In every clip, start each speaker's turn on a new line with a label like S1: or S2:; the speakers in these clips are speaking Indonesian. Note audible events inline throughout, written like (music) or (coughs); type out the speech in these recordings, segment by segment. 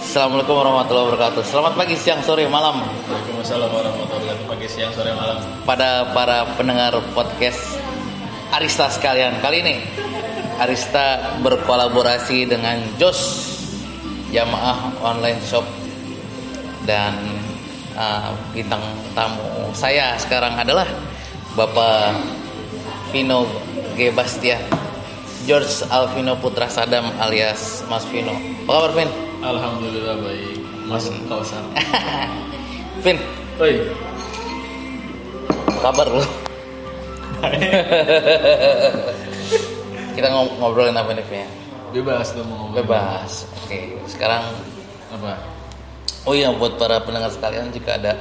S1: Assalamualaikum warahmatullahi wabarakatuh. Selamat pagi, siang, sore, malam
S2: Waalaikumsalam warahmatullahi wabarakatuh. Pagi, siang, sore, malam.
S1: pada para pendengar podcast Arista sekalian. Kali ini Arista berkolaborasi dengan Jos Jamaah Online Shop dan uh, bintang tamu saya sekarang adalah Bapak Vino G. Bastian George Alvino Putra Sadam alias Mas Vino. Apa kabar Vin?
S2: Alhamdulillah baik. Mas Kausar.
S1: Vin,
S2: Oi.
S1: kabar lu? Kita ngom- ngobrolin apa nih Vin?
S2: Bebas lu mau ngomong.
S1: bebas oke sekarang
S2: Apa?
S1: oh iya buat para pendengar sekalian jika ada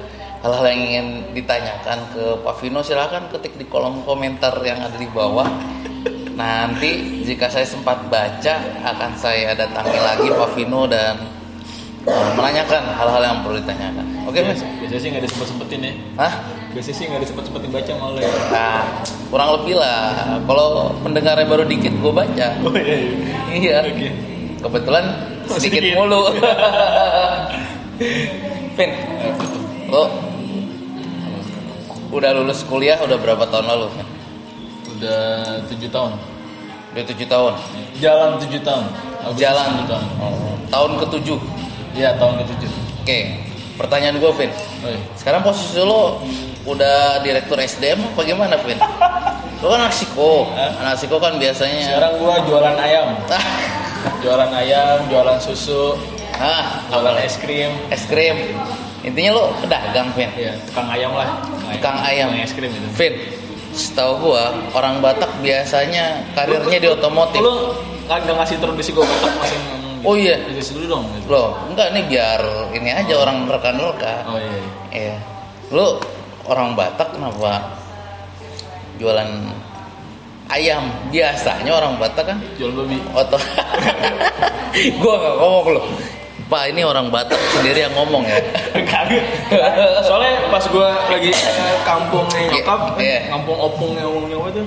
S1: hal-hal yang ingin ditanyakan ke Pak Vino silahkan ketik di kolom komentar yang ada di bawah nanti jika saya sempat baca akan saya datangi lagi Pak Vino dan eh, menanyakan hal-hal yang perlu ditanyakan oke Mas
S2: Iya, Biasanya sih nggak disempet-sempetin ya.
S1: Hah?
S2: Biasanya sih nggak disempet-sempetin baca malah ya.
S1: Nah, kurang lebih lah kalau pendengarnya baru dikit gue baca
S2: Oh iya. iya.
S1: Iya.
S2: Oke.
S1: Kebetulan
S2: Oh,
S1: sedikit
S2: sedikit.
S1: mulu. Vin, lo udah lulus kuliah udah berapa tahun lalu? Vin?
S2: Udah 7 tahun.
S1: Udah tujuh tahun.
S2: Jalan 7 tahun. Agustus
S1: Jalan.
S2: tujuh tahun.
S1: Tahun ketujuh.
S2: Iya, tahun ke-7.
S1: Oke, pertanyaan gue, Vin.
S2: Oi.
S1: Sekarang posisi lo udah direktur SDM apa gimana, Vin? Lo kan anak siko, anak siko kan biasanya.
S2: Sekarang gua jualan ayam.
S1: (laughs)
S2: Jualan ayam, jualan susu,
S1: Ah,
S2: jualan es krim.
S1: es krim. Intinya lo pedagang, Vin.
S2: Iya, tukang ayam lah.
S1: Tukang ayam.
S2: Tukang es krim itu.
S1: Vin, setahu gua orang Batak biasanya karirnya di otomotif.
S2: Lu nggak ngasih introduksi gue botak masih
S1: Oh iya.
S2: Introduksi dulu dong. gitu.
S1: Loh, enggak nih biar ini aja orang rekan-rekan.
S2: Oh iya. iya.
S1: Iya. Lu orang Batak kenapa jualan ayam? Biasanya orang Batak kan
S2: Jual babi.
S1: oto. (laughs) gua nggak ngomong loh. Pak, ini orang Batak sendiri yang ngomong ya.
S2: Kaget. Soalnya pas gue lagi eh, kampungnya nyokap,
S1: Iya.
S2: kampung opungnya omongnya apa tuh?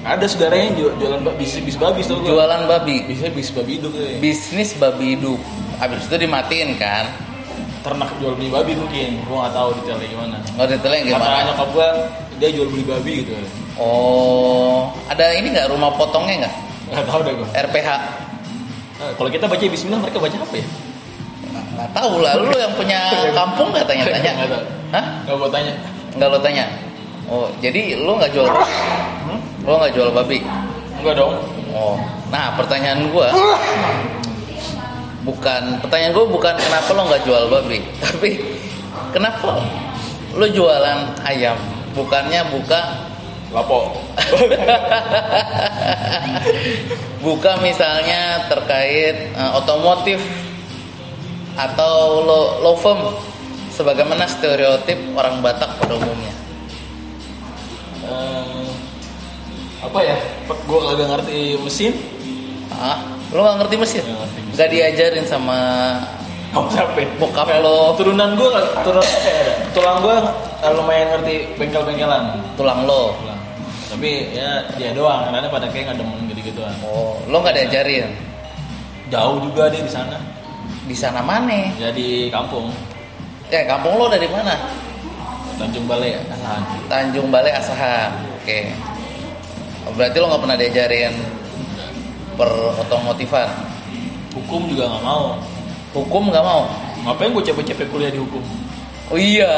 S2: Ada saudaranya yang jual- jualan babi, bis, bis babi tau gue.
S1: Jualan babi.
S2: Bisa bis babi hidup ya.
S1: Bisnis babi hidup. Habis itu dimatiin kan.
S2: Ternak jual beli babi mungkin. Gue nggak tahu detailnya gimana.
S1: Nggak detailnya Oh, gimana?
S2: Kata nyokap gue, dia jual beli babi gitu.
S1: Oh, ada ini nggak rumah potongnya nggak?
S2: Nggak tahu deh gue.
S1: RPH?
S2: Eh, Kalau kita baca Bismillah, mereka baca apa ya?
S1: Nggak tahu lah. Lu yang punya kampung nggak tanya-tanya?
S2: (laughs) Nggak tahu.
S1: Hah?
S2: Nggak mau tanya.
S1: Nggak lo tanya? Oh, jadi lu nggak jual? Hmm? Lu nggak jual babi?
S2: Enggak dong.
S1: Oh, nah pertanyaan gua bukan pertanyaan gua bukan kenapa lo nggak jual babi, tapi kenapa lo jualan ayam? Bukannya buka
S2: Lapo.
S1: buka misalnya terkait eh, otomotif atau lo law firm sebagaimana stereotip orang Batak pada umumnya.
S2: Eh, apa ya? Gue kagak ngerti mesin.
S1: Ah, lo nggak ngerti mesin?
S2: Nggak ngerti mesin.
S1: Gak diajarin sama
S2: Kamu siapa? ya?
S1: bokap lo,
S2: Turunan gue, turun, eh, tulang gue lumayan ngerti bengkel-bengkelan.
S1: tulang lo.
S2: Tulang. Tapi ya dia doang, karena pada kayak nggak demen gitu-gituan.
S1: Oh, lo nggak diajarin
S2: Jauh juga dia di sana,
S1: di sana mana?
S2: ya di kampung
S1: Eh, kampung lo dari mana?
S2: Tanjung Balai ya. Kan?
S1: Tanjung Balai Asahan. Oke. Oh, Berarti lo nggak pernah diajarin per otomotifan.
S2: Hukum juga nggak mau.
S1: Hukum nggak mau.
S2: Ngapain gue capek-capek kuliah di hukum?
S1: Oh iya,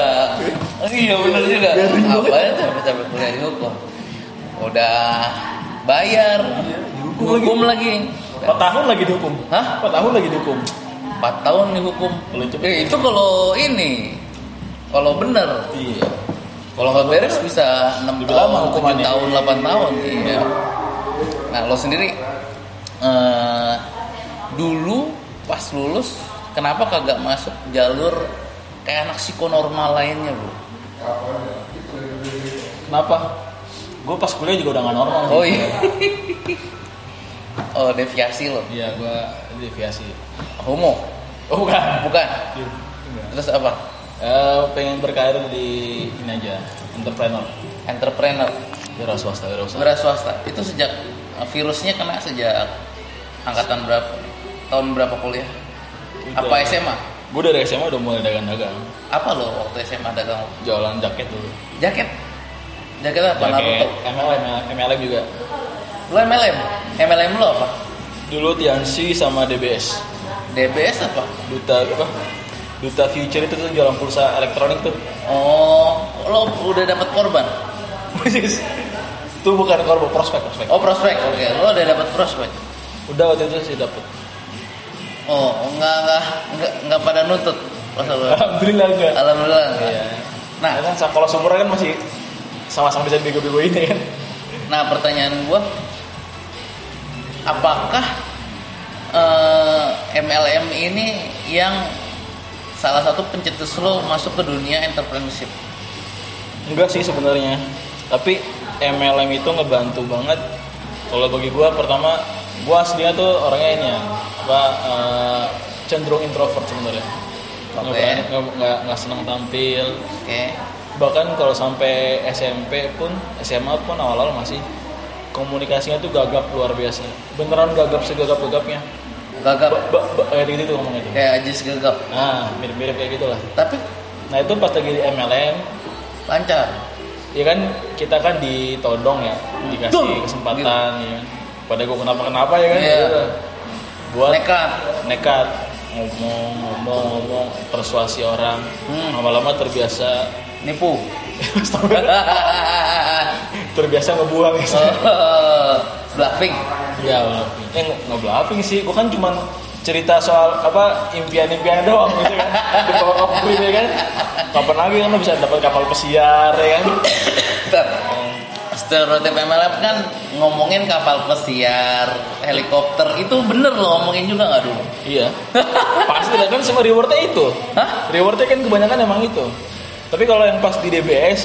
S1: Oh iya bener juga. Apa ya capek-capek kuliah di hukum? Udah bayar,
S2: dihukum
S1: hukum lagi.
S2: Empat tahun lagi di hukum.
S1: Hah?
S2: Empat tahun lagi di hukum.
S1: 4 tahun nih hukum.
S2: Kalau cepet.
S1: Eh, itu kalau ini, kalau bener.
S2: Iya.
S1: Kalau nggak beres bisa 6
S2: Lebih
S1: tahun,
S2: lama
S1: 7
S2: hukumannya.
S1: tahun, 8 tahun. Iya. Nah lo sendiri, eh, dulu pas lulus, kenapa kagak masuk jalur kayak anak psikonormal lainnya bro?
S2: Kenapa? Gue pas kuliah juga udah nggak normal.
S1: Oh iya. (laughs) Oh deviasi lo.
S2: Iya, gue deviasi.
S1: Homo.
S2: Oh bukan.
S1: Bukan. Terus apa?
S2: Eh, pengen berkarir di ini aja, entrepreneur,
S1: Entrepreneur.
S2: wira swasta, wira usaha.
S1: Wira swasta. Itu sejak eh, virusnya kena sejak angkatan berapa? Tahun berapa kuliah? Apa SMA?
S2: Gue dari SMA udah mulai dagang-dagang.
S1: Apa lo waktu SMA dagang
S2: Jualan jaket dulu.
S1: jaket? Jaket apa? Naruto?
S2: Jaket, MLM, MLM juga.
S1: Lo MLM? MLM lo apa?
S2: Dulu Tiansi sama DBS.
S1: DBS apa?
S2: Duta apa? Duta Future itu tuh jualan pulsa elektronik tuh. (laughs)
S1: Oh, lo udah dapat korban?
S2: itu bukan korban prospek prospek.
S1: Oh prospek, oke. Lo udah dapat prospek?
S2: Udah waktu itu sih dapet.
S1: (laughs) Oh, enggak enggak enggak, enggak pada nuntut. Pas lo.
S2: Alhamdulillah enggak.
S1: Alhamdulillah. enggak.
S2: Iya.
S1: Nah,
S2: Nah, kan sa- kalau sumur kan masih sama-sama bisa bego-bego ini kan.
S1: Nah pertanyaan gue, apakah eh, MLM ini yang salah satu pencetus lo masuk ke dunia entrepreneurship?
S2: Enggak sih sebenarnya. Tapi MLM itu ngebantu banget. Kalau bagi gua pertama gua aslinya tuh orangnya ini ya, apa eh, cenderung introvert sebenarnya. Nggak
S1: Oke.
S2: berani- nggak nggak- nggak senang tampil.
S1: Oke,
S2: Bahkan kalau sampai SMP pun, SMA pun awal-awal masih komunikasinya tuh gagap luar biasa. Beneran gagap segagap-gagapnya.
S1: gagap
S2: Ba- ba- ba- Kayak gitu tuh ngomongnya tuh.
S1: kayak ajis gagap,
S2: Nah, mirip-mirip kayak gitulah.
S1: tapi
S2: Nah itu pas lagi di MLM,
S1: lancar.
S2: ya kan kita kan ditodong ya, dikasih
S1: Dong!
S2: kesempatan, ya. Pada gue kenapa kenapa ya kan?
S1: Gitu. Iya.
S2: gitu. Buat
S1: Nekat.
S2: nekat ngomong, ngomong, ngomong, persuasi orang,
S1: Hmm.
S2: lama-lama terbiasa, (laughs)
S1: nipu. (laughs)
S2: terbiasa ngebuang ya.
S1: Oh, iya, Bluffing.
S2: Ya, ngebluffing. Eh, nge- ngebluffing sih, gue kan cuman cerita soal apa impian-impian doang gitu kan di bawah kepri, ya kan kapan lagi kan lo bisa dapat kapal pesiar ya kan
S1: Bentar. Stereotip MLM kan ngomongin kapal pesiar, helikopter itu bener lo ngomongin juga nggak dulu?
S2: Iya. Pasti lah kan semua rewardnya itu.
S1: Hah?
S2: Rewardnya kan kebanyakan emang itu. Tapi kalau yang pas di DBS,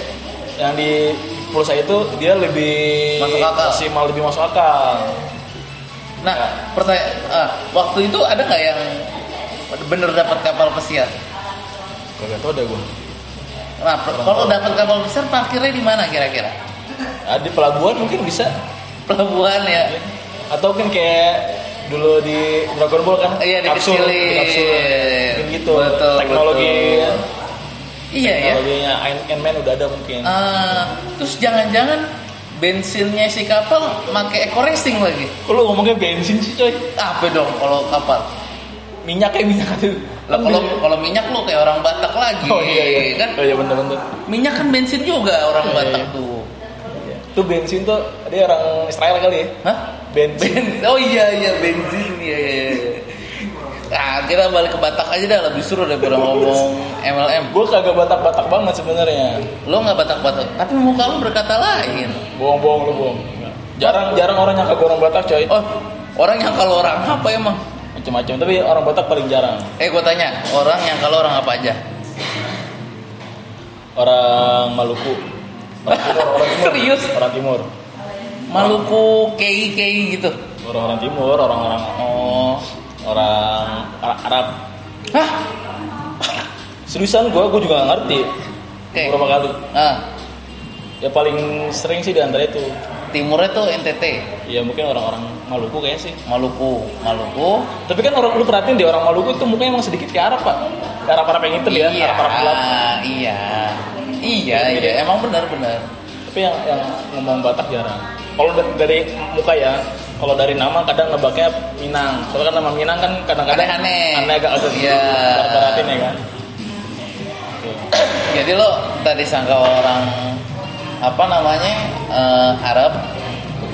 S2: yang di pulsa itu dia lebih
S1: Masuk akal.
S2: masih malah lebih masuk akal.
S1: Nah,
S2: Ya.
S1: pertanya- ah, waktu itu ada nggak yang bener dapat kapal pesiar?
S2: Kagak tau deh gue.
S1: Nah, per- kalau dapat kapal pesiar parkirnya di mana kira-kira?
S2: Nah, di pelabuhan mungkin bisa.
S1: Pelabuhan ya.
S2: Atau mungkin kayak dulu di Dragon Ball kan
S1: Iya,
S2: kapsul,
S1: dikecilin.
S2: kapsul. Mungkin gitu.
S1: Iya. Betul,
S2: teknologi
S1: betul. Iya ya.
S2: teknologinya Iron Iron Man udah ada mungkin.
S1: Ah, terus jangan-jangan bensinnya si kapal pakai eco racing lagi?
S2: Kok lu ngomongnya bensin sih coy?
S1: Apa dong kalau kapal?
S2: Minyak kayak minyak gitu. tuh.
S1: Lah kalau kalau minyak lo kayak orang Batak lagi
S2: Oh iya, iya.
S1: kan?
S2: Oh iya bener-bener.
S1: Minyak kan bensin juga orang
S2: Iya,
S1: Batak
S2: iya.
S1: tuh.
S2: Itu bensin tuh dia orang Israel kali ya.
S1: Hah?
S2: Bensin.
S1: Ben- oh iya iya bensin ya. ya, ya. Nah, kita balik ke Batak aja dah lebih seru daripada ngomong MLM.
S2: Gue kagak batak-batak banget sebenarnya.
S1: Lo nggak Batak-Batak, tapi muka lo berkata lain.
S2: Bohong-bohong lu bohong. Jarang jarang orang nyangka gue orang Batak coy.
S1: Oh, orang yang kalau orang apa emang?
S2: Macam-macam tapi orang Batak paling jarang.
S1: Eh, gua tanya, orang yang kalau orang apa aja?
S2: Orang Maluku. Orang timur, orang timur.
S1: (laughs) Serius?
S2: Orang timur.
S1: Maluku, KI, KI gitu.
S2: Orang-orang timur, orang-orang
S1: Oh,
S2: orang Ara- Arab.
S1: hah?
S2: Seriusan gue, gue juga gak ngerti.
S1: Oke.
S2: Beberapa kali.
S1: Ah,
S2: Ya paling sering sih di antara itu.
S1: timurnya tuh NTT,
S2: Ya mungkin orang-orang Maluku kayaknya sih.
S1: Maluku, Maluku.
S2: Tapi kan orang lu perhatiin deh orang Maluku itu mukanya emang sedikit kayak Arab pak. Kayak Arab-Arab yang hitam
S1: iya,
S2: ya, Arab-Arab gelap.
S1: iya, iya,
S2: Gitu
S1: iya,
S2: ya.
S1: emang benar-benar.
S2: Tapi yang, yang ngomong Batak jarang. Kalau da- dari muka ya, kalau dari nama kadang ngebaknya Minang. Soalnya kan nama Minang kan kadang-kadang
S1: Aneh-aneh.
S2: Aneh agak agak gitu.
S1: Iya.
S2: Perhatiin ya kan. Gitu.
S1: Jadi lo tadi sangka orang apa namanya eh, Arab,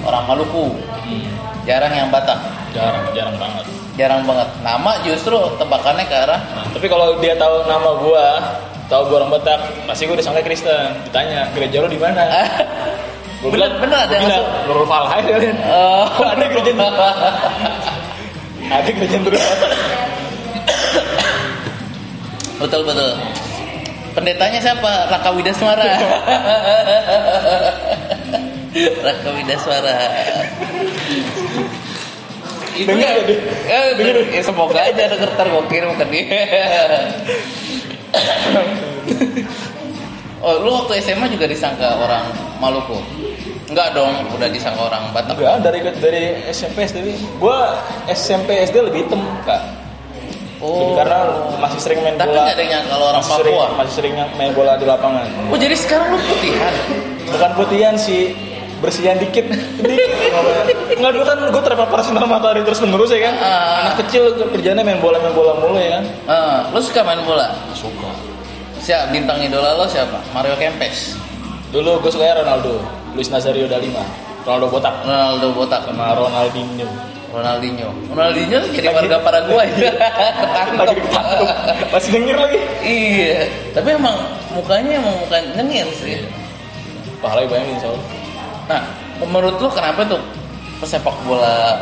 S1: orang Maluku,
S2: Hmm,
S1: jarang yang Batak,
S2: jarang, jarang banget.
S1: jarang banget. Nama justru tebakannya ke arah (laughs)
S2: Nah, tapi kalau dia tahu nama gua, tahu gua orang Batak, pasti gua disangka Kristen. Ditanya, gereja lu di
S1: Eh,
S2: mana? Gua
S1: Bener-
S2: bilang,
S1: bener ada
S2: gua
S1: yang
S2: bilang, Nurul (laughs) Falhai kalian.
S1: Oh.
S2: Kok ada gereja di
S1: (laughs)
S2: Ada gereja di
S1: betul betul. Pendetanya siapa? Raka Widaswara. (laughs) Raka Widaswara. Itu
S2: Dengar
S1: ya,
S2: gak dia?
S1: eh, ya semoga aja ada kertas gue kirim ke
S2: (laughs)
S1: dia. oh, lu waktu SMA juga disangka orang Maluku? Enggak dong, udah disangka orang Batak.
S2: Enggak, dari dari SMP SD. Gua SMP SD lebih hitam, Kak. Jadi
S1: Oh.
S2: karena masih sering main
S1: Tapi
S2: bola.
S1: nggak ada yang nyangka kalau orang
S2: masih sering-
S1: Papua.
S2: masih sering main bola di lapangan.
S1: Oh jadi sekarang lu putihan.
S2: Bukan putihan sih, bersihan dikit.
S1: (laughs)
S2: dikit. Enggak dulu kan gue terpapar sinar matahari terus menerus ya kan.
S1: Ah.
S2: Anak kecil kerjanya main bola main bola mulu ya kan.
S1: Eh, lu suka main bola?
S2: Suka.
S1: Siapa bintang idola lo siapa? Mario Kempes,
S2: Dulu gue suka ya Ronaldo, Luis Nazario da Lima, Ronaldo botak
S1: Ronaldo botak,
S2: sama Ronaldinho.
S1: Ronaldinho. Ronaldinho jadi
S2: Lagi-
S1: warga Paraguay.
S2: Lagi
S1: Ketangkep.
S2: ditangkap. Masih denger lagi.
S1: iya. Tapi emang mukanya emang muka nyengir sih.
S2: Pahalanya banyak insya Allah.
S1: Nah, menurut lu kenapa tuh pesepak bola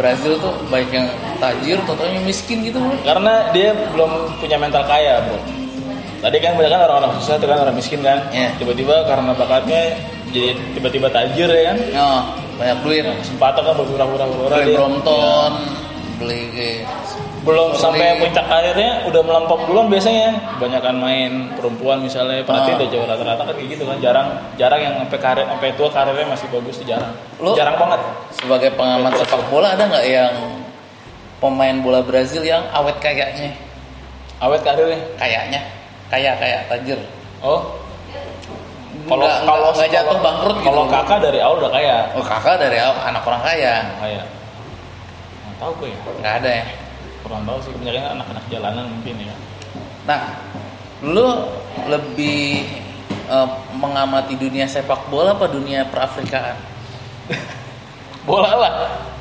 S1: Brazil tuh banyak yang tajir, totalnya miskin gitu bro?
S2: Karena dia belum punya mental kaya, bro. Tadi kan banyak kan orang-orang susah, tuh kan orang miskin kan.
S1: Iya.
S2: Tiba-tiba karena bakatnya jadi tiba-tiba tajir ya kan.
S1: Oh, banyak duit.
S2: Kesempatan kan bermurah-murah-murah.
S1: Beli
S2: dia.
S1: Brompton, beli eh, kayak-
S2: Belum
S1: Beli-
S2: sampai puncak karirnya udah melampau duluan biasanya. Kebanyakan main perempuan misalnya.
S1: Ah.
S2: Berarti udah jauh rata-rata kan kayak gitu kan. Jarang jarang yang sampai karir sampai tua karirnya masih bagus tuh jarang.
S1: Lu-
S2: Jarang banget.
S1: Sebagai pengamat sepak bola ada nggak yang pemain bola Brazil yang awet kayaknya?
S2: Awet karirnya.
S1: Kayaknya, kayak kayak tajir.
S2: Oh,
S1: Kalau kalau nggak jatuh
S2: kalau-
S1: bangkrut gitu.
S2: Kalau kakak dari awal udah kaya.
S1: Oh kakak dari awal, anak orang kaya,
S2: Kaya. Nggak tahu gue ya.
S1: nggak ada ya.
S2: kurang tahu sih kebanyakan anak-anak jalanan mungkin ya
S1: Nah, lu lebih eh, mengamati dunia sepak bola apa dunia perafrikaan?
S2: bola lah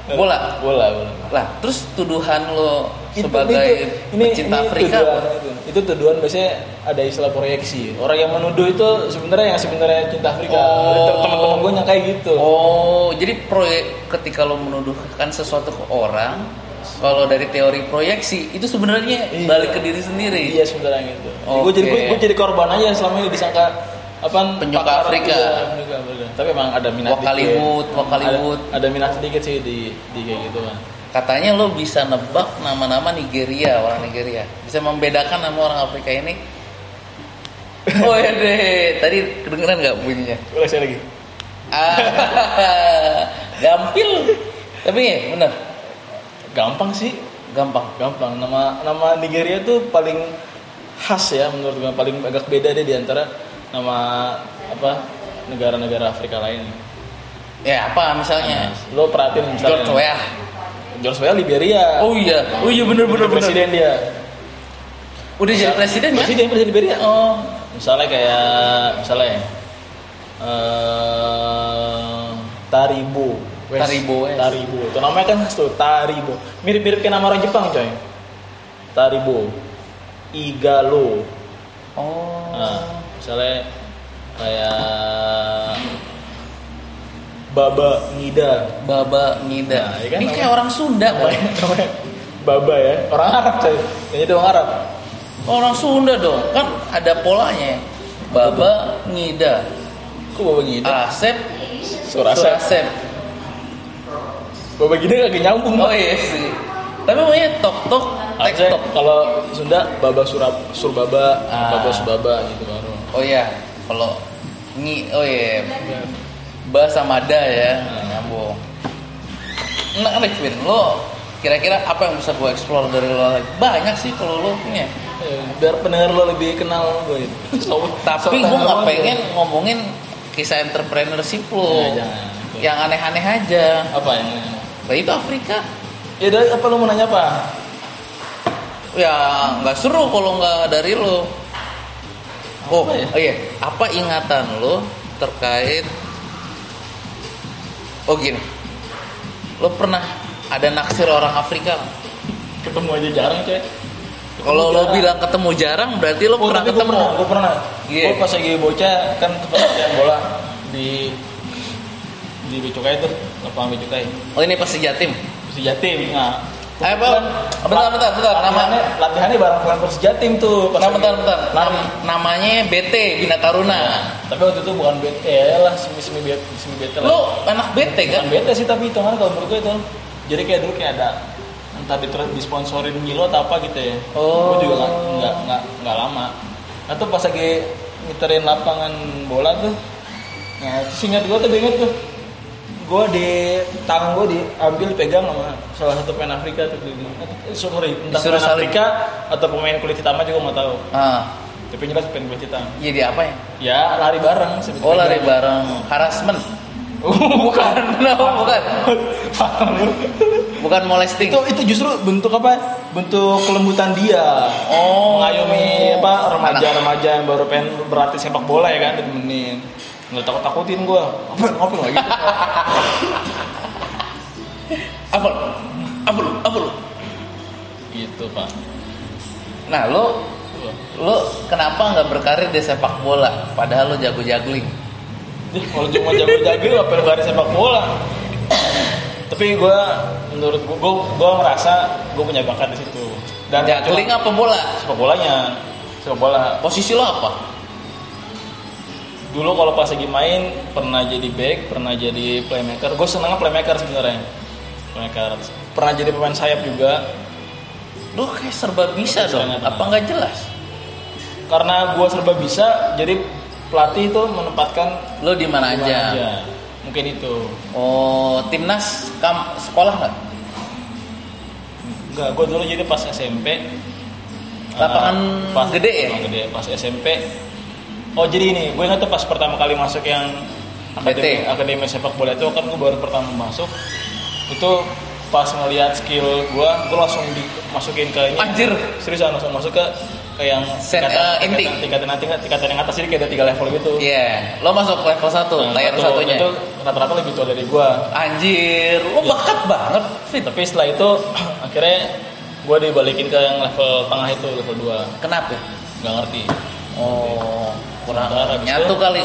S1: Bola?
S2: bola bola
S1: Lah, terus tuduhan lu sebagai pecinta Afrika
S2: tuduhan,
S1: apa?
S2: itu. itu tuduhan biasanya ada istilah proyeksi orang yang menuduh itu sebenarnya yang sebenarnya cinta Afrika
S1: Oh.
S2: Tem- teman-teman gue yang kayak gitu
S1: Oh, jadi proyek ketika lo menuduhkan sesuatu ke orang, kalau dari teori proyeksi itu sebenarnya
S2: Iya.
S1: balik ke diri sendiri.
S2: iya sebenarnya gitu gue
S1: Oke.
S2: jadi gue, gue jadi korban aja selama ini disangka apa
S1: Penyuka Afrika.
S2: iya, penyuka Afrika. tapi emang ada minat
S1: Wakaliwood,
S2: dikit.
S1: Wakaliwood.
S2: ada, ada minat sedikit sih di di kayak gitu kan
S1: Katanya lo bisa nebak nama-nama Nigeria, orang Nigeria. Bisa membedakan nama orang Afrika
S2: (laughs)
S1: ini. Oh ya deh, tadi kedengeran nggak bunyinya?
S2: ulang saya lagi
S1: Ah, (laughs) gampil. Tapi ya, bener,
S2: gampang sih
S1: gampang.
S2: gampang nama nama Nigeria tuh paling khas ya menurut gue paling agak beda deh diantara nama apa negara-negara Afrika lain
S1: Ya apa misalnya?
S2: lo perhatiin misalnya
S1: George Weah.
S2: George Weah Liberia
S1: Oh iya, oh iya bener-bener bener.
S2: presiden dia
S1: Udah jadi presiden kan?
S2: presiden presiden Liberia
S1: Oh,
S2: misalnya kayak misalnya eh Taribo West.
S1: Taribo West.
S2: Taribo itu namanya kan khas tuh Taribo mirip-mirip kayak nama orang Jepang coy Taribo Igalo
S1: Oh.
S2: Nah, misalnya kayak Baba Nida.
S1: Baba Ngida.
S2: Nah, ya
S1: Ini
S2: kan, Iya. namanya-
S1: kayak orang Sunda kan?
S2: Namanya, namanya Baba ya. Orang Arab coy. Kayaknya dia orang Arab.
S1: Orang Sunda dong. Kan ada polanya. Baba Ngida.
S2: Kok Baba Nida?
S1: Asep
S2: Surasa.
S1: Surasep.
S2: Baba Nida kagak nyambung.
S1: Oh iya sih. Tapi namanya Tok Tok Tek
S2: Harusnya
S1: Tok.
S2: kalau Sunda Baba Surab Surbaba,
S1: Ah.
S2: Baba Subaba gitu baru.
S1: Oh iya, kalau Ngi oh iya. Ba sama Da ya, nyambung. Enak Rifin, lo kira-kira apa yang bisa gue explore dari lo lagi? Banyak sih kalau lo punya.
S2: Eh, Biar pendengar lo gitu. lebih kenal gue. So,
S1: Tapi gue nggak pengen ngomongin kisah entrepreneurship lo.
S2: Ya, jangan.
S1: yang aneh-aneh aja.
S2: apa yang
S1: Lah itu Afrika.
S2: Ya dari apa lo mau nanya apa?
S1: Ya nggak seru kalau nggak dari lo. Oh,
S2: Apa ya?
S1: oh iya, apa ingatan lo terkait Oh gini. Lo pernah ada naksir orang Afrika? nggak?
S2: Ketemu aja jarang coy.
S1: Kalau lo
S2: jarang.
S1: bilang ketemu jarang berarti lo
S2: Oh,
S1: pernah
S2: tapi
S1: ketemu.
S2: Gue pernah, gue pernah.
S1: Iya.
S2: Gue pas lagi bocah kan tempat latihan bola di di Becukai tuh, lapangan Becukai.
S1: Oh ini pasti Jatim.
S2: Persejatim. Nah,
S1: Eh, Bang. Bentar, bentar, bentar.
S2: Namanya latihannya bareng bareng Persejatim tuh. pas
S1: Bentar, Nah, bentar,
S2: lagi- Nah,
S1: bentar. Nam- namanya BT Bina Taruna.
S2: Tapi waktu itu bukan bete, eh lah semi semi bete, semi bete lah.
S1: Lo anak BT kan?
S2: Bukan bete sih tapi itu kan kalau menurut gue itu. Jadi kayak dulu kayak ada entah di disponsorin Milo atau apa gitu ya.
S1: Oh.
S2: Gue juga nggak nggak nggak nggak lama. Nah tuh pas lagi miterin lapangan bola tuh, nah terus ingat gue tuh gue inget tuh gue di tangan gue diambil pegang sama salah satu pemain Afrika tuh di eh, sorry entah
S1: Disuruh
S2: pemain
S1: saling.
S2: Afrika atau pemain kulit hitam aja gue nggak tahu
S1: Ah,
S2: tapi yang jelas pemain kulit hitam
S1: jadi apa ya?
S2: ya lari bareng sebetulnya
S1: Oh lari
S2: (laughs)
S1: bareng harassment.
S2: bukan
S1: (laughs) No, bukan.
S2: Paham lu?
S1: Bukan molesting.
S2: itu itu justru bentuk apa bentuk kelembutan dia
S1: Oh.
S2: mengayomi apa remaja
S1: Anak.
S2: remaja yang baru pengen berlatih sepak bola ya kan ditemenin nggak takut takutin gue apa ngopi lagi
S1: Apa lu? Apa lu? Apa lu?
S2: (laughs) gitu pak
S1: Nah, lu lu kenapa nggak berkarir di sepak bola padahal lu jago juggling?
S2: Ih, kalau cuma jago-jago ya ngapain lari sepak bola tapi gue menurut gue gue merasa gue punya bakat di situ dan
S1: Juggling apa bola?
S2: sepak bolanya sepak bola
S1: Posisi lu apa?
S2: dulu kalau pas lagi main pernah jadi back pernah jadi playmaker gue seneng playmaker sebenarnya playmaker pernah jadi pemain sayap juga
S1: Lu kayak serba bisa
S2: Serba
S1: dong.
S2: bisa,
S1: Apa nggak jelas?
S2: karena gue serba bisa jadi pelatih itu menempatkan
S1: Lu di mana
S2: di mana aja.
S1: aja?
S2: mungkin itu
S1: Oh, timnas kam sekolah nggak?
S2: Enggak, gue dulu jadi pas SMP
S1: Lapangan
S2: eh,
S1: gede ya?
S2: lapangan gede, pas SMP Oh jadi ini, gue ingat tuh pas pertama kali masuk yang Akademi,
S1: BT.
S2: akademi sepak bola itu kan gue baru pertama masuk Itu pas ngeliat skill gue, gue langsung dimasukin ke ini
S1: Anjir.
S2: Seriusan, langsung masuk ke, ke yang
S1: Sen- eh, inti.
S2: tingkatan, tingkatan, tingkatan, tingkatan yang atas Jadi kayak ada tiga level gitu
S1: Iya, lo masuk level 1,
S2: Nah,
S1: layar
S2: satu-
S1: satunya.
S2: Itu rata-rata lebih tua dari gue
S1: Anjir, lo
S2: Iya.
S1: bakat banget, Fit.
S2: Tapi setelah itu (clears throat) akhirnya gue dibalikin ke yang level tengah itu, level 2
S1: Kenapa?
S2: nggak ngerti
S1: Oh, kurang
S2: Sebentar, habis
S1: nyatu
S2: itu-
S1: kali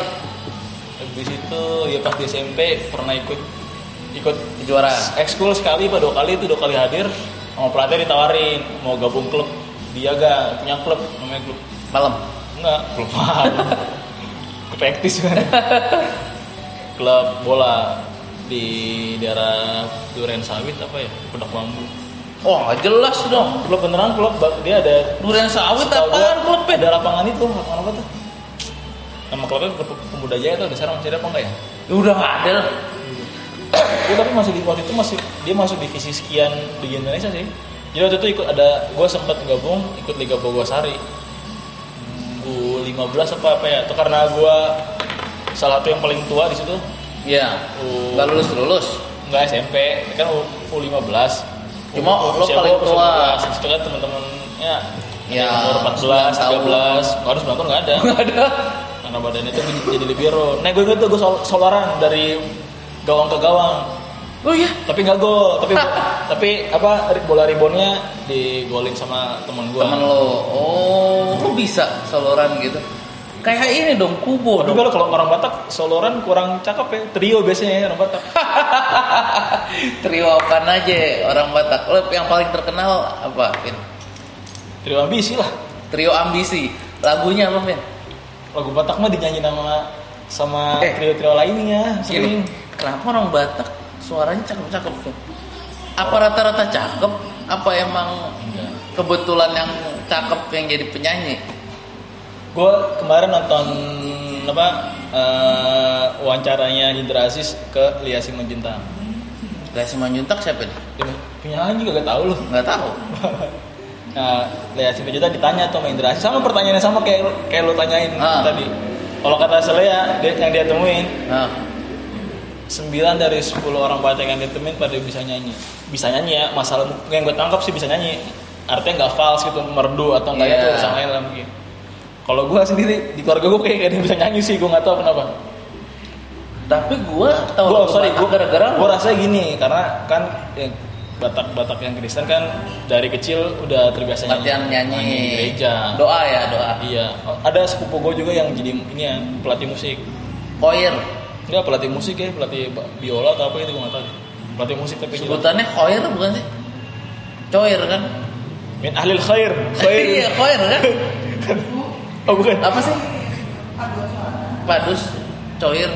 S2: habis itu ya pas di SMP pernah ikut ikut Nah,
S1: juara.
S2: ekskul sekali pak dua kali itu dua kali hadir sama pelatih ditawarin mau gabung klub dia gak punya klub namanya klub
S1: Malam.
S2: enggak klub mahal
S1: (laughs)
S2: klub praktis kan klub bola di daerah Duren Sawit apa ya Pondok Bambu
S1: Oh, nggak jelas dong.
S2: klub beneran klub Ba- dia ada
S1: Durian sawit
S2: Setahu
S1: apaan
S2: gua,
S1: klubnya?
S2: Ada lapangan itu, lapangan apa tuh? Nama klubnya klub pemuda jaya tuh, ada sekarang masih ada apa enggak ya?
S1: Ya udah nggak ada. lah.
S2: Dia tapi masih di waktu itu masih dia masuk divisi sekian di Indonesia sih. Jadi waktu itu ikut ada, gue sempat gabung ikut Liga Bogosari. Gue 15 apa apa ya? Itu karena gue salah satu yang paling tua di situ
S1: Iya.
S2: Oh.
S1: Nggak lulus lulus.
S2: nggak SMP kan U15
S1: Cuma
S2: U-
S1: lo
S2: usia
S1: paling
S2: gua
S1: tua.
S2: 19. Di situ kan temen-temennya
S1: Ya,
S2: ya, umur
S1: 9
S2: 14,
S1: tahun.
S2: 13 harus bangun nggak ada
S1: (laughs) Nggak ada.
S2: karena badannya tuh jadi libero. Nah gue itu gue sol solaran dari gawang ke gawang,
S1: Oh iya.
S2: tapi nggak gol. Tapi tapi apa bola ribonnya digolin sama teman gue.
S1: Temen lo. Oh, lo bisa soloran gitu. Kayak ini dong kubo
S2: Tapi
S1: dong.
S2: kalau kalau orang Batak soloran kurang cakep ya, trio biasanya ya orang Batak.
S1: Teriwakan aja orang Batak. Lo yang paling terkenal apa, Vin?
S2: Trio ambisi lah.
S1: Trio Ambisi. Lagunya apa, Vin?
S2: Lagu Batak mah dinyanyi sama sama
S1: Eh. Iya,
S2: trio-trio lainnya
S1: Gini,
S2: sering.
S1: kenapa orang Batak suaranya cakep-cakep Vin? Apa rata-rata cakep? Apa emang
S2: Enggak.
S1: kebetulan yang cakep yang jadi penyanyi?
S2: Gue kemarin nonton apa eh, wawancaranya Indra Aziz ke Lia Simanjuntak.
S1: Gak sih Manjuntak siapa nih?
S2: Dia Penyanyi juga gak tau loh.
S1: Gak tahu.
S2: Nah, Lea Simanjunta ditanya tuh sama Indra Aziz, sama pertanyaannya sama kayak kayak lo tanyain
S1: Ah.
S2: tadi. Kalau kata Selea, dia, yang dia temuin,
S1: Nah,
S2: 9 dari 10 orang Batak yang dia temuin pada bisa nyanyi. Bisa nyanyi ya, masalah yang gue tangkap sih bisa nyanyi. Artinya nggak fals gitu, merdu atau nggak
S1: Iya.
S2: itu urusan lain lah mungkin. Kalau gue sendiri, di keluarga gue kayak gak ada yang bisa nyanyi sih, gue gak tau kenapa.
S1: tapi Oh, gua tahu
S2: Gue,
S1: lagu
S2: sorry,
S1: Batak
S2: gue
S1: gara-gara lu.
S2: gue rasanya gini, karena kan ya, Batak-Batak yang Kristen kan dari kecil udah terbiasa nyanyi.
S1: latihan nyanyi.
S2: di gereja.
S1: Doa ya, doa.
S2: Iya, ada sepupu gue juga yang jadi ini ya pelatih musik.
S1: Koir.
S2: Enggak pelatih musik ya, pelatih ba- biola atau apa itu gue nggak tahu. Pelatih musik tapi jadi
S1: Sebutannya koir bukan sih? Coir kan?
S2: min ahlil khair.
S1: (laughs) iya,
S2: Khair.
S1: koir kan?
S2: oh bukan.
S1: Apa sih? Padus, coir.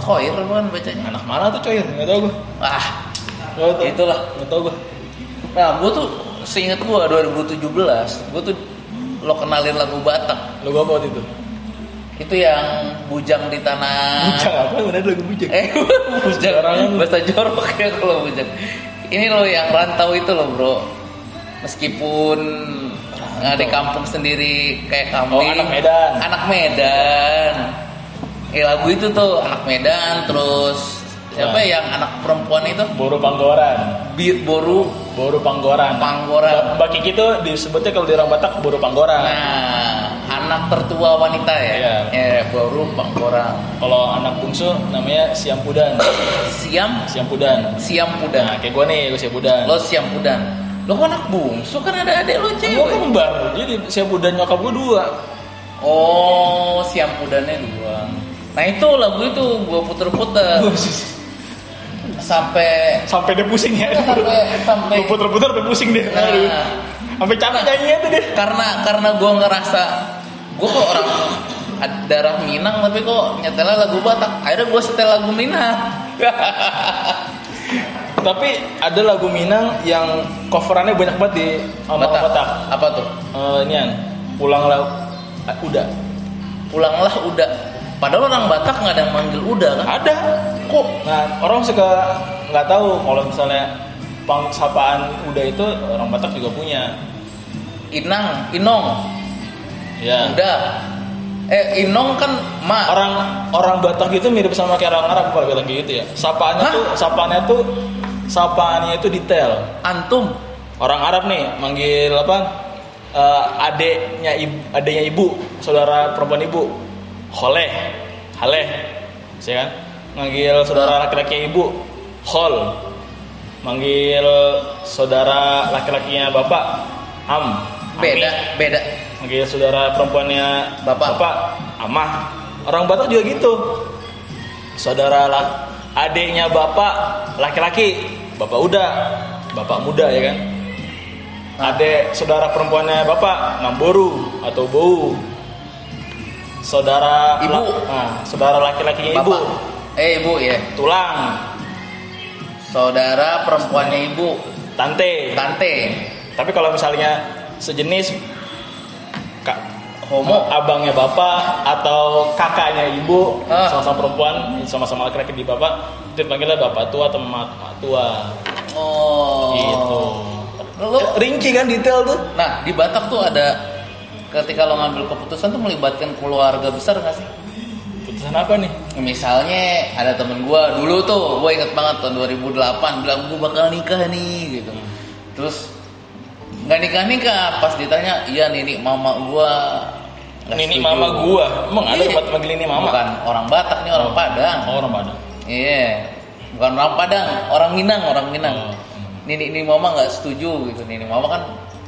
S1: Koir bukan bacanya?
S2: Anak mana tuh coy? Enggak tahu gue.
S1: Ah,
S2: Enggak tahu.
S1: Itulah.
S2: Enggak tahu gue.
S1: Nah, gue tuh seinget gue 2017, gue tuh lo kenalin lagu Batak. Nah.
S2: Lo gue apa waktu itu?
S1: itu yang bujang di tanah
S2: Bujang apa? Mana ada lagu bujang?
S1: eh bujang
S2: Sembarangan lu.
S1: bahasa jorok ya kalau bujang ini loh yang rantau itu loh bro meskipun nggak di kampung sendiri kayak kambing
S2: Oh, anak Medan.
S1: anak Medan eh lagu itu tuh anak Medan terus siapa
S2: Nah.
S1: yang anak perempuan itu
S2: Boru Panggoran.
S1: Biit Boru
S2: Boru Panggoran.
S1: Panggoran.
S2: Mbak- Mbak Kiki tuh disebutnya kalau di orang Batak Boru Panggoran.
S1: nah anak tertua wanita ya
S2: Iya.
S1: ya Boru Pangkoran
S2: Kalau anak bungsu namanya Siam Pudan.
S1: Siam
S2: Siam Pudan.
S1: Siam
S2: Nah,
S1: Pudan
S2: kayak gue nih, gue Siam Pudan.
S1: lo Siam Pudan lo kan anak bungsu kan ada adik lo
S2: gue
S1: cewek
S2: kembar, jadi Siam Pudan nyokap gue dua.
S1: Oh, siam pudanya dua. Nah itu lagu itu gua puter-puter sampai
S2: Eh. Sampai dia pusing (laughs) ya.
S1: sampai sampai
S2: Lu puter-puter sampai pusing deh.
S1: Nah.
S2: Aduh. Sampai capek nyanyinya tuh deh.
S1: karena karena gua ngerasa gua kok orang ad- darah Minang tapi kok nyetelnya lagu Batak. Akhirnya gua setel lagu Minang.
S2: Tapi ada lagu Minang yang coverannya banyak banget di sama Oh, Batak.
S1: Apa tuh?
S2: Eh, Nian, pulanglah ah, udah.
S1: Pulanglah udah. Padahal orang Batak nggak ada yang manggil udah kan?
S2: Ada.
S1: Kok?
S2: Nah, orang suka nggak tahu kalau misalnya pang sapaan udah itu orang Batak juga punya.
S1: Inang, Inong,
S2: Ya.
S1: udah. Eh, Inong kan ma.
S2: Orang orang Batak itu mirip sama kayak orang Arab kalau bilang gitu ya. Sapaannya
S1: Hah?
S2: tuh sapaannya tuh sapaannya itu detail.
S1: Antum,
S2: orang Arab nih manggil apa eh, adeknya ibu adeknya ibu saudara perempuan ibu holeh haleh saya kan manggil saudara laki-laki ibu hol manggil saudara laki-lakinya bapak am
S1: beda,
S2: Ami.
S1: beda.
S2: manggil saudara perempuannya
S1: Bapak.
S2: amah orang Batak juga gitu saudara lah adiknya bapak laki-laki bapak udah bapak muda ya kan
S1: Nah.
S2: adek saudara perempuannya bapak namboru atau bou saudara
S1: Ibu.
S2: nah, saudara laki-lakinya ibu
S1: Bapak. Eh ibu ya.
S2: tulang
S1: Saudara perempuannya ibu,
S2: tante
S1: tante,
S2: tapi kalau misalnya sejenis kak
S1: homo.
S2: abangnya bapak atau kakaknya ibu
S1: Ah.
S2: sama-sama perempuan sama-sama laki-laki di bapak itu panggilnya bapak tua atau mak mak tua
S1: Oh.
S2: gitu
S1: Lo,
S2: rinci kan detail tuh
S1: nah di Batak tuh ada ketika lo ngambil keputusan tuh melibatkan keluarga besar nggak sih?
S2: putusan apa nih
S1: Misalnya ada temen gua dulu tuh, gua inget banget tahun 2008 bilang gua bakal nikah nih gitu. Terus nggak nikah nikah pas ditanya iya nini mama gua nggak
S2: nini
S1: setuju.
S2: mama gua emang ada
S1: Iya.
S2: tempat panggil nini mama
S1: bukan orang Batak nih orang
S2: Oh.
S1: Padang
S2: oh, orang Padang
S1: Iya, bukan orang Padang, orang Minang, orang Minang.
S2: Hmm,
S1: Nini, nini mama nggak setuju gitu. Nini mama kan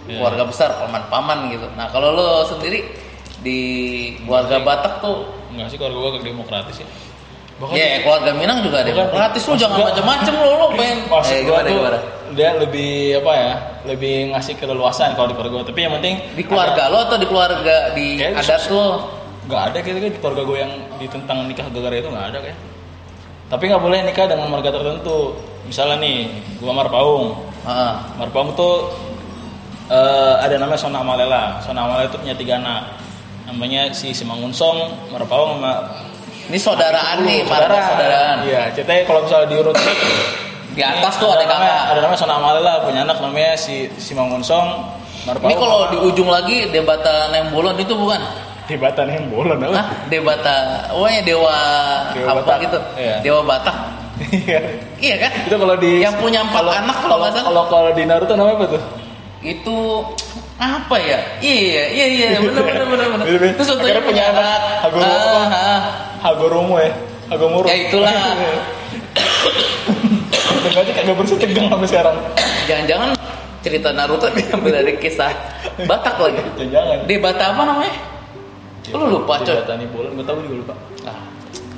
S2: Iya.
S1: keluarga besar, paman-paman gitu. Nah kalau lo sendiri di keluarga Batak tuh,
S2: enggak sih keluarga gua agak demokratis ya bahkan
S1: ya keluarga Minang juga ada.
S2: Bukan.
S1: Gratis lo
S2: Maksud
S1: jangan
S2: gua-
S1: macem-macem lo lo pengen.
S2: maksud
S1: Eh,
S2: gua
S1: gimana,
S2: tuh
S1: gimana?
S2: dia lebih apa ya lebih ngasih keleluasan kalau di keluarga gua tapi yang penting
S1: Di keluarga lo atau di keluarga di
S2: Kayak
S1: adat lo?
S2: nggak ada kayaknya di keluarga gue yang ditentang nikah gara-gara itu nggak ada kayak tapi nggak boleh nikah dengan marga tertentu misalnya nih gue marpaung
S1: Heeh.
S2: marpaung tuh eh, ada namanya Sona Amalela Sona Amalela itu punya tiga anak namanya si Simangunsong Marpaung sama
S1: Ini saudaraan nih, marga
S2: saudara
S1: saudaraan.
S2: iya ceritanya kalau misalnya diurut
S1: Di atas tuh ada
S2: Iya, namanya,
S1: kakak.
S2: ada namanya Sona Amalela punya anak namanya si Simangunsong Marpaung
S1: Ini kalau di ujung lagi debatan yang bolon itu bukan?
S2: hebatan yang bola
S1: Hah? Dewata, pokoknya dewa,
S2: Dewa
S1: apa
S2: Batak.
S1: gitu?
S2: Iya.
S1: Dewa Batak. Iya kan?
S2: itu kalau di
S1: Yang punya empat anak kalau nggak salah.
S2: kalau kalau di Naruto namanya apa tuh
S1: Itu apa ya? Iya, iya, iya, benar, benar, benar, benar.
S2: Iya, iya.
S1: Terus
S2: Akhirnya
S1: contohnya
S2: punya
S1: punya
S2: anak,
S1: anak.
S2: Hagoromo.
S1: Ah, ah.
S2: Hagoromo ya Hagomuro
S1: Ya,
S2: (coughs)
S1: itulah.
S2: Tegang aja kagak bersih tegang sampai sekarang
S1: Jangan-jangan cerita Naruto diambil dari kisah Batak lagi.
S2: Jangan-jangan
S1: Dewata apa namanya? Lu lupa, coy.
S2: Tani bola Gak tau juga lupa
S1: Nah,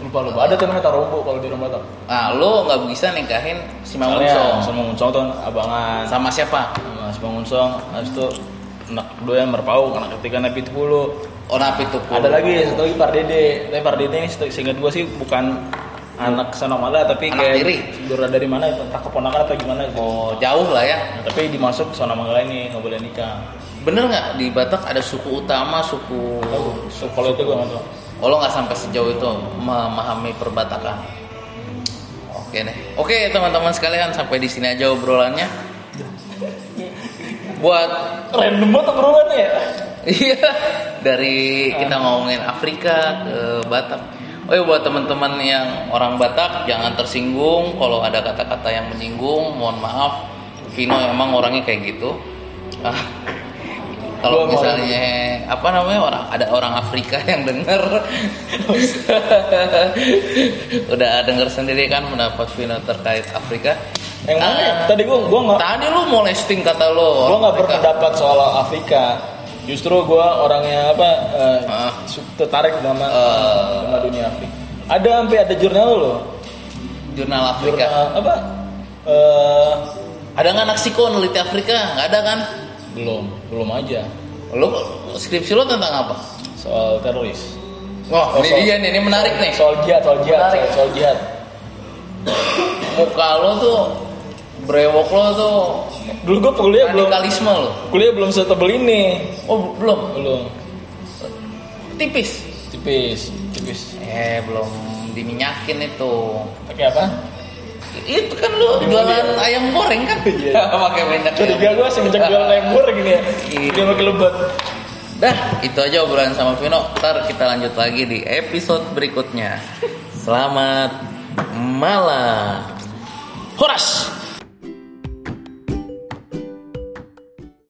S2: Lupa lupa Ada tuh namanya Tarombo kalau di rumah tau
S1: Nah, lo nggak bisa nikahin si Mang Unsong.
S2: Sama Unsong tuh abangan Nah,
S1: Sama siapa?
S2: Sama si Bang Unsong Habis itu anak kedua yang merpau anak ketiga napi bulu
S1: Onapi tuh.
S2: ada lagi
S1: Oh.
S2: satu lagi Pardede tapi Pardede ini se- seingat gue sih bukan anak Sanomala tapi
S1: Anak
S2: kayak
S1: tiri.
S2: saudara dari mana entah keponakan atau gimana gitu.
S1: Oh, jauh lah ya.
S2: Nah, tapi dimasuk ke Sanomala ini nggak boleh nikah
S1: Bener nggak di Batak ada suku utama, suku
S2: Tahu, so, kalau itu gue nggak tahu
S1: Oh, lo nggak sampai sejauh itu memahami perbatakan. Oke deh. Oke teman-teman sekalian sampai di sini aja obrolannya. Buat
S2: Random banget obrolannya ya.
S1: Iya, dari kita ngomongin Afrika ke Batak. Oh iya buat teman-teman yang orang Batak jangan tersinggung kalau ada kata-kata yang menyinggung, mohon maaf. Vino emang orangnya kayak gitu. Ah, kalau
S2: Gua mau-
S1: misalnya apa namanya orang ada orang Afrika yang denger (laughs) udah denger sendiri kan pendapat Vino terkait Afrika.
S2: Yang mana? ya?
S1: Ah,
S2: Tadi gua gua nggak
S1: Tadi lu mau listing kata lu.
S2: gua
S1: orang
S2: nggak
S1: Afrika.
S2: berpendapat soal Afrika. Justru gua orangnya apa eh,
S1: Ah.
S2: su- tertarik sama
S1: Eh.
S2: sama dunia Afrika. Ada sampai ada jurnal loh.
S1: Jurnal Afrika.
S2: Jurnal apa? Eh,
S1: Ada nggak Naksiko neliti Afrika? Nggak ada kan?
S2: belum, belum aja
S1: Lo skripsi lo tentang apa?
S2: soal teroris.
S1: Wah,
S2: Oh,
S1: ini
S2: soal-
S1: dia nih, ini menarik nih.
S2: Soal jihad, soal jihad,
S1: Menarik.
S2: soal, soal jihad.
S1: Muka lo tuh brewok lo tuh
S2: Dulu gua kuliah belum
S1: radikalisme lo.
S2: kuliah belum setebel ini.
S1: Oh, belum.
S2: Belum.
S1: Tipis.
S2: Tipis, tipis.
S1: Eh, belum diminyakin itu.
S2: Pakai apa?
S1: Itu kan lo jualan ayam goreng kan?
S2: Iya.
S1: (laughs) Pakai minyak.
S2: Curiga gua semenjak jual lembur gini ya.
S1: Iya.
S2: Dia pakai lebat.
S1: Dah, itu aja obrolan sama Vino. Ntar kita lanjut lagi di episode berikutnya. Selamat malam. Horas.